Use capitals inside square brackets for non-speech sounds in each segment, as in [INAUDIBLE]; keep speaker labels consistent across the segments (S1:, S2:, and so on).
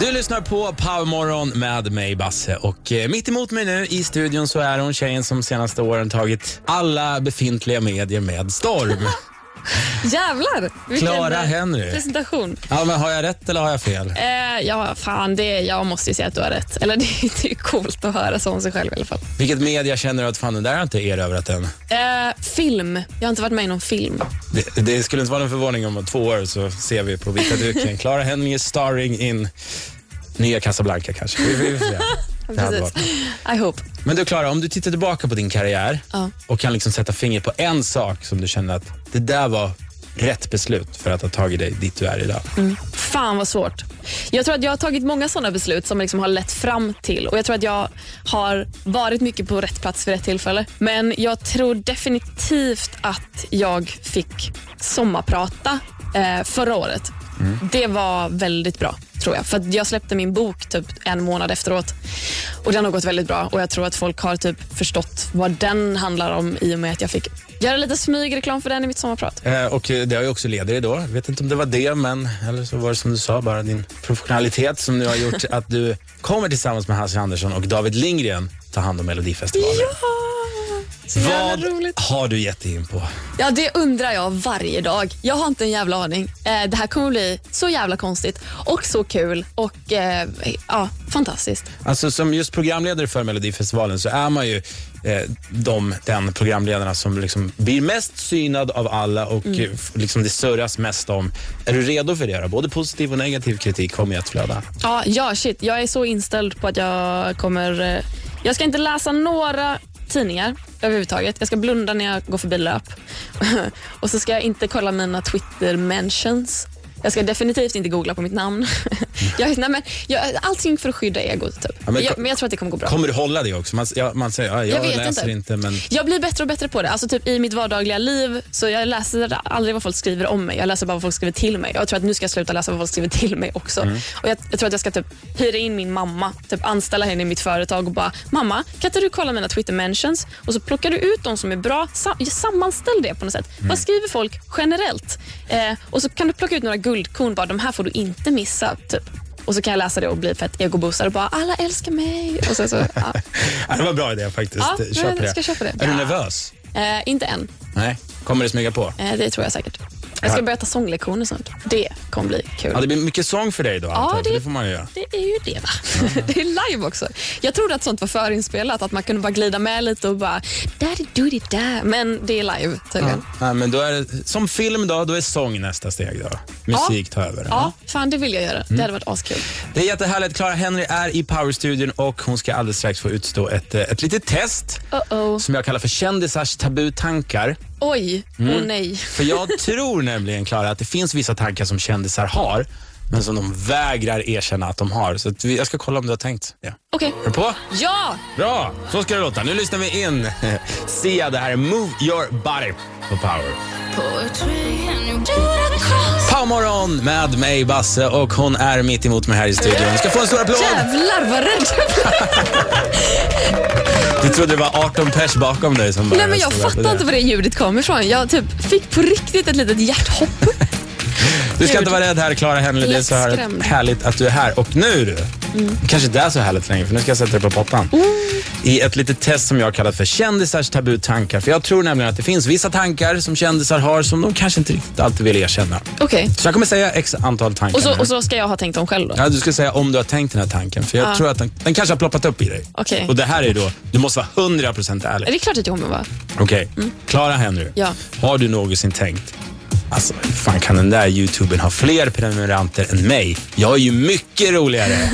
S1: Du lyssnar på Powermorgon med mig, Basse. Och eh, mitt emot mig nu i studion så är hon tjejen som senaste åren tagit alla befintliga medier med storm.
S2: Jävlar! vilken eh,
S1: Clara Henry.
S2: Presentation.
S1: Ja, men har jag rätt eller har jag fel?
S2: Eh, ja, fan, det, jag måste ju säga att du har rätt. Eller [LAUGHS] det, det är coolt att höra så om sig själv i alla fall.
S1: Vilket media känner du att fan, den där har jag inte erövrat än?
S2: Eh, film. Jag har inte varit med i någon film.
S1: Det, det skulle inte vara någon förvåning om två år så ser vi på vita duken. Clara Henry starring in nya Casablanca kanske. Vi, vi får se. Det hade varit
S2: Precis.
S1: något.
S2: I hope.
S1: Men du Clara, om du tittar tillbaka på din karriär
S2: Ja.
S1: och kan liksom sätta finger på en sak som du känner att det där var rätt beslut för att ha tagit dig dit du är idag.
S2: Mm. Fan vad svårt. Jag tror att jag har tagit många sådana beslut som liksom har lett fram till och jag tror att jag har varit mycket på rätt plats vid rätt tillfälle. Men jag tror definitivt att jag fick sommarprata eh, förra året. Det var väldigt bra tror jag. För att jag släppte min bok typ en månad efteråt och den har gått väldigt bra och jag tror att folk har typ förstått vad den handlar om i och med att jag fick göra lite smygreklam för den i mitt sommarprat.
S1: Eh, och eh, det har ju också lett dig då. Jag vet inte om det var det, men eller så var det som du sa, bara din professionalitet som nu har
S2: [LAUGHS]
S1: gjort att du kommer tillsammans med Hasse Andersson och David Lindgren ta hand om Melodifestivalen.
S2: Så jävla
S1: Vad
S2: roligt.
S1: har du gett dig in på?
S2: Ja, det undrar jag varje dag. Jag har inte en jävla aning. Eh, det här kommer bli så jävla konstigt och så kul och eh, ja, fantastiskt.
S1: Alltså som just programledare för Melodifestivalen så är man ju eh, de, den programledarna som liksom blir mest synad av alla och
S2: Mm.
S1: eh, f- liksom det surras mest om. Är du redo för det? då? Både positiv och negativ kritik kommer ju att flöda.
S2: Ja, ja, shit. Jag är så inställd på att jag kommer... Eh, jag ska inte läsa några tidningar överhuvudtaget. Jag ska blunda när jag går förbi löp. [LAUGHS] och så ska jag inte kolla mina Twitter mentions. Jag ska definitivt inte googla på mitt namn. [LAUGHS] jag, nej, men, jag, allting för att skydda egot. Typ.
S1: Ja, men
S2: men,
S1: ko-
S2: jag, men jag tror att det kommer gå bra.
S1: Kommer du hålla det också? Man, s- ja, man säger, ja, jag,
S2: Jag vet
S1: läser inte.
S2: inte.
S1: men...
S2: Jag blir bättre och bättre på det. Alltså typ I mitt vardagliga liv så jag läser aldrig vad folk skriver om mig. Jag läser bara vad folk skriver till mig. Jag tror att nu ska jag sluta läsa vad folk skriver till mig också. Och jag, jag tror att jag ska typ hyra in min mamma, typ anställa henne i mitt företag och bara “Mamma, kan inte du kolla mina Twitter mentions?” och så plockar du ut de som är bra. Sa- sammanställ det på något sätt. Vad skriver folk generellt? Eh, och så kan du plocka ut några guldkorn. Bara, “De här får du inte missa”. Typ. Och så kan jag läsa det och bli fett egoboostad och bara “Alla älskar mig”. Och sen så, ja.
S1: Ja, det var en bra idé faktiskt.
S2: Ja,
S1: Kör
S2: men
S1: på
S2: jag ska köpa det.
S1: Är du
S2: Ja.
S1: nervös?
S2: eh, inte än.
S1: Nej. Kommer det smyga på?
S2: Eh, Det tror jag säkert. Jag
S1: Ja.
S2: ska börja ta sånglektioner snart. Det kommer bli kul.
S1: Ja, det blir mycket sång för dig då. antar jag, för
S2: det-
S1: det får man ju göra.
S2: Det är ju det va? [LAUGHS] Det är live också. Jag trodde att sånt var förinspelat, att man kunde bara glida med lite och bara daddy doody da. Men det är live tydligen.
S1: Ja, men då är det, som film då, då är sång nästa steg då. Musik tar över.
S2: Ja, fan det vill jag göra. Det hade varit askul.
S1: Det är jättehärligt. Clara Henry är i Powerstudion och hon ska alldeles strax få utstå ett, eh, ett litet test
S2: Uh-oh.
S1: som jag kallar för kändisars tabutankar.
S2: Oj,
S1: Mm.
S2: oh nej.
S1: För
S2: [LAUGHS]
S1: jag tror nämligen, Clara, att det finns vissa tankar som kändisar har men som de vägrar erkänna att de har. Så att vi, jag ska kolla om du har tänkt. Ja.
S2: Okej.
S1: Är du på?
S2: Ja!
S1: Bra! Så ska det låta. Nu lyssnar vi in. [LAUGHS] Sia, det här är Move Your Body på Power. Powermorgon med mig, Basse, och hon är mitt emot mig här i studion. Ni ska få en stor applåd!
S2: Jävlar vad rädd jag blev.
S1: Du trodde det var 18 pers bakom dig som bara
S2: Nej men jag
S1: stod där på
S2: fattar
S1: det.
S2: inte var det ljudet kom ifrån. Jag typ fick på riktigt ett litet hjärthopp.
S1: Du ska inte vara rädd här Clara Henley. Det är så här
S2: Lättskrämd. Mm.
S1: härligt att du är här. Och nu du. Kanske inte är så härligt längre för nu ska jag sätta dig på pottan.
S2: Oh.
S1: I ett litet test som jag har kallat för kändisars tabutankar. För jag tror nämligen att det finns vissa tankar som kändisar har som de kanske inte riktigt alltid vill erkänna.
S2: Okej.
S1: Så jag kommer säga x antal tankar.
S2: Och, så,
S1: nu.
S2: och så ska jag ha tänkt om själv då?
S1: Ja, du ska säga om du har tänkt den här tanken. För jag tror att den, den kanske har ploppat upp i dig.
S2: Okej.
S1: Och det här är då, du måste vara 100% ärlig.
S2: Det är klart att jag kommer vara.
S1: Okej. Clara Henry,
S2: Ja.
S1: har du någonsin tänkt Alltså, hur fan kan den där youtubern ha fler prenumeranter än mig? Jag är ju mycket roligare.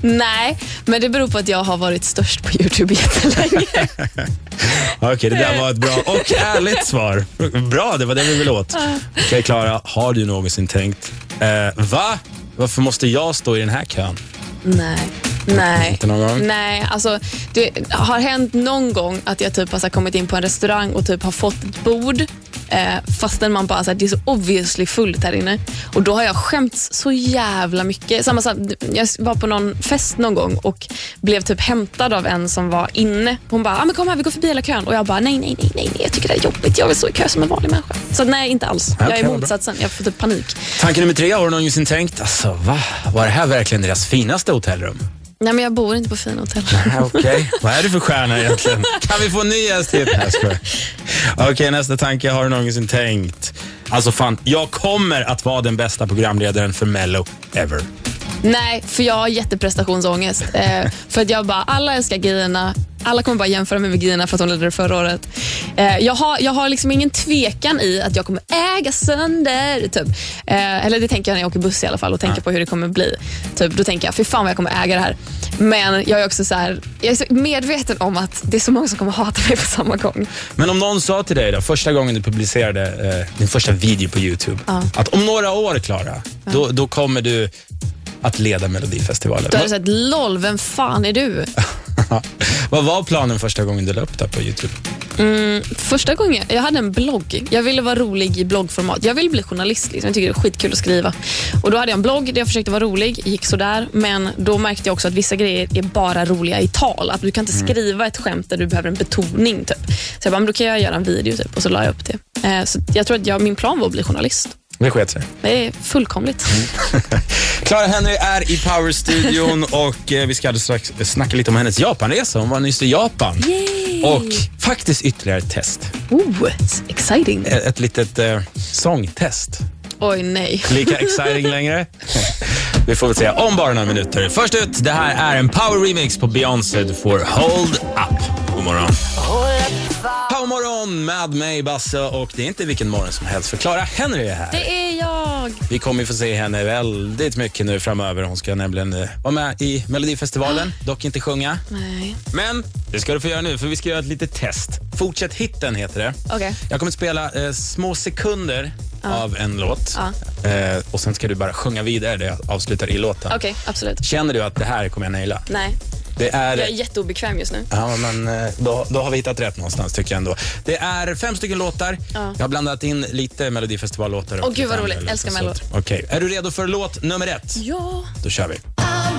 S2: Nej, men det beror på att jag har varit störst på Youtube jättelänge.
S1: Okej, det där var ett bra och ärligt svar. Bra, det var det vi ville åt. Okej, Clara, har du någonsin tänkt, eh, va? Varför måste jag stå i den här kön?
S2: Nej. Nej.
S1: Inte någon gång?
S2: Nej, alltså det har hänt någon gång att jag typ har så här kommit in på en restaurang och typ har fått ett bord Eh, fastän man bara, så här, det är så obviously fullt här inne. Och då har jag skämts så jävla mycket. Samma sak, jag var på någon fest någon gång och blev typ hämtad av en som var inne. Hon bara, ah, men kom här vi går förbi hela kön. Och jag bara, nej, nej, nej, nej, nej. jag tycker det är jobbigt. Jag vill stå i kö som en vanlig människa. Så nej, inte alls. Jag
S1: Okej,
S2: är
S1: vad bra.
S2: motsatsen. Jag får typ panik.
S1: Tanke nummer tre, har du någonsin tänkt, alltså va, var det här verkligen deras finaste hotellrum?
S2: Nej, men jag bor inte på fina hotell.
S1: Okej, vad är du för stjärna egentligen? Kan vi få en ny gäst hit? Nej, jag skojar. Okej, nästa tanke, har du någonsin tänkt, alltså fan, jag kommer att vara den bästa programledaren för Mello ever.
S2: Nej, för jag har jätteprestationsångest. Eh, för att jag bara, alla älskar Gina. Alla kommer bara jämföra mig med Gina för att hon ledde det förra året. Eh, jag, har, jag har liksom ingen tvekan i att jag kommer äga sönder. Typ. Eh, eller det tänker jag när jag åker buss i alla fall och tänker på hur det kommer bli. Typ, då tänker jag, fy fan vad jag kommer äga det här. Men jag är också så här, jag är så medveten om att det är så många som kommer hata mig på samma gång.
S1: Men om någon sa till dig då, första gången du publicerade eh, din första video på Youtube, att om några år, Klara, då, då kommer du att leda Melodifestivalen.
S2: Då är det så här, LOL, vem fan är du?
S1: [LAUGHS] Vad var planen första gången du la upp det här på Youtube?
S2: Första gången, jag hade en blogg. Jag ville vara rolig i bloggformat. Jag ville bli journalist. Liksom. Jag tycker det är skitkul att skriva. Och Då hade jag en blogg där jag försökte vara rolig. gick sådär. Men då märkte jag också att vissa grejer är bara roliga i tal. Att Du kan inte skriva ett skämt där du behöver en betoning. Typ. Så jag bara, men då kan jag göra en video typ. och så la jag upp det. Eh, så jag tror att jag, min plan var att bli journalist.
S1: Det sket sig.
S2: Det är fullkomligt.
S1: Clara Henry är i Power-studion och eh, vi ska alldeles strax snacka lite om hennes Japanresa. Hon var nyss i Japan.
S2: Yay!
S1: Och faktiskt ytterligare ett test.
S2: Oh, it's exciting.
S1: Ett, ett litet eh, sångtest.
S2: Oj, nej.
S1: Lika exciting längre? Vi får väl se om bara några minuter. Först ut, det här är en power remix på Beyoncé. Du får Hold Up. God morgon. Power morgon med mig, Basse. Och det är inte vilken morgon som helst, för Clara Henry är här.
S2: Det är jag.
S1: Vi kommer ju få se henne väldigt mycket nu framöver. Hon ska nämligen eh, vara med i Melodifestivalen,
S2: Ah.
S1: dock inte sjunga.
S2: Nej.
S1: Men det ska du få göra nu, för vi ska göra ett litet test. Fortsätt hitten heter det.
S2: Okej. Ah.
S1: Jag kommer att spela eh, små sekunder av en låt. Eh, och Sen ska du bara sjunga vidare det jag avslutar i låten.
S2: Okej, absolut.
S1: Känner du att det här kommer jag naila?
S2: Nej,
S1: Det är...
S2: jag är jätteobekväm just nu.
S1: Ja, men eh, då, då har vi hittat rätt någonstans tycker jag ändå. Det är fem stycken låtar. Jag har blandat in lite Melodifestivallåtar. och
S2: Åh, gud, vad
S1: lite andra
S2: roligt.
S1: låtar,
S2: Älskar
S1: så
S2: Mello. Mm.
S1: att- Okej, är du redo för låt nummer ett?
S2: Ja.
S1: Då kör vi.
S3: I'm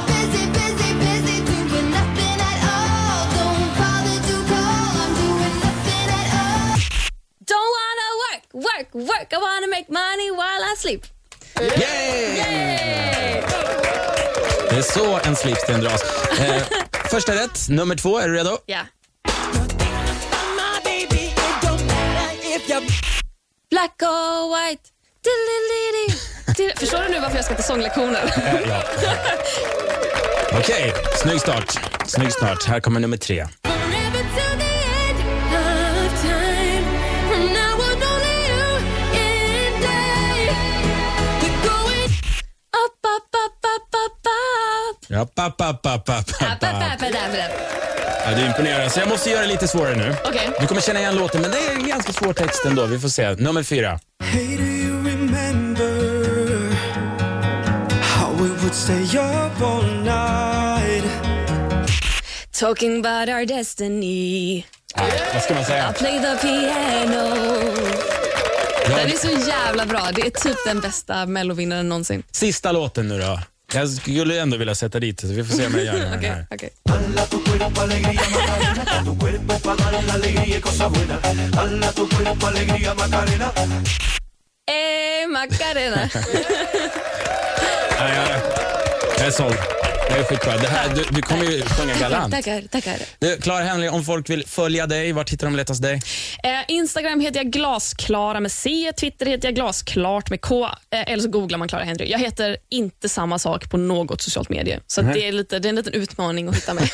S3: busy, busy, busy, doing nothing at all. Don't bother to call. I'm doing nothing at all.
S2: Don't wanna work, work, work. I wanna make money while I sleep.
S1: Yay! Det är så en slipsten dras. Eh, första rätt, nummer två. Är du redo?
S2: Ja.
S4: my baby. It don't matter if you're
S2: Black or white. Dililili.
S1: [LAUGHS]
S2: Dil- Förstår du nu varför jag ska till sånglektioner?
S1: Eh, ja. Okej, snygg start. Snygg start. Här kommer nummer tre.
S3: Forever till the end of time. From now on, only you and I. We're going
S2: Up, up, up, up, up, up.
S1: Ja, pa, pa, pa, pa, pa,
S2: Up, up,
S1: pa.
S2: up, up, up, up.
S1: Ja, du imponerar. Så jag måste göra det lite svårare nu.
S2: Okej.
S1: Du kommer känna igen låten, men det är en ganska svår text ändå. Vi får se. Nummer fyra.
S5: Hey, do you remember how we would stay up all night?
S2: Talking about our destiny.
S1: Ah, vad ska man säga?
S2: Play the piano. Den
S1: Jag,
S2: är så jävla bra. Det är typ den bästa mellovinnaren någonsin.
S1: sista låten nu då. Jag skulle ändå vilja sätta dit det, så vi får se om jag gör det med den här.
S2: Okej. okej. Eh, [LAUGHS] Macarena.
S1: Nej, jag, jag är såld. Jag är skitbra. Det här, du, du kommer ju sjunga galant.
S2: Tackar, tackar.
S1: Du, Clara Henley, om folk vill följa dig, vart hittar de lättast
S2: [LAUGHS]
S1: dig?
S2: Eh, Instagram heter jag glasklara med C. Twitter heter jag glasklart med K. Eh, eller så googlar man Clara Henry. Jag heter inte samma sak på något socialt medie. Så att det, är lite, det är en liten utmaning att hitta [LAUGHS] mig.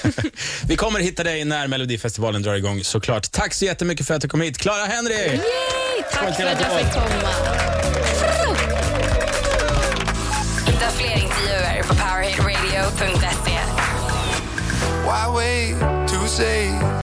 S1: Vi kommer hitta dig när Melodifestivalen drar igång såklart. Tack så jättemycket för att du kom hit, Clara Henry!
S2: Yay! Tack för
S1: till
S2: att jag
S1: Göteborg.
S2: fick komma.
S6: Hitta fler intervjuer E. på powerhitradio.se.
S7: Why wait to say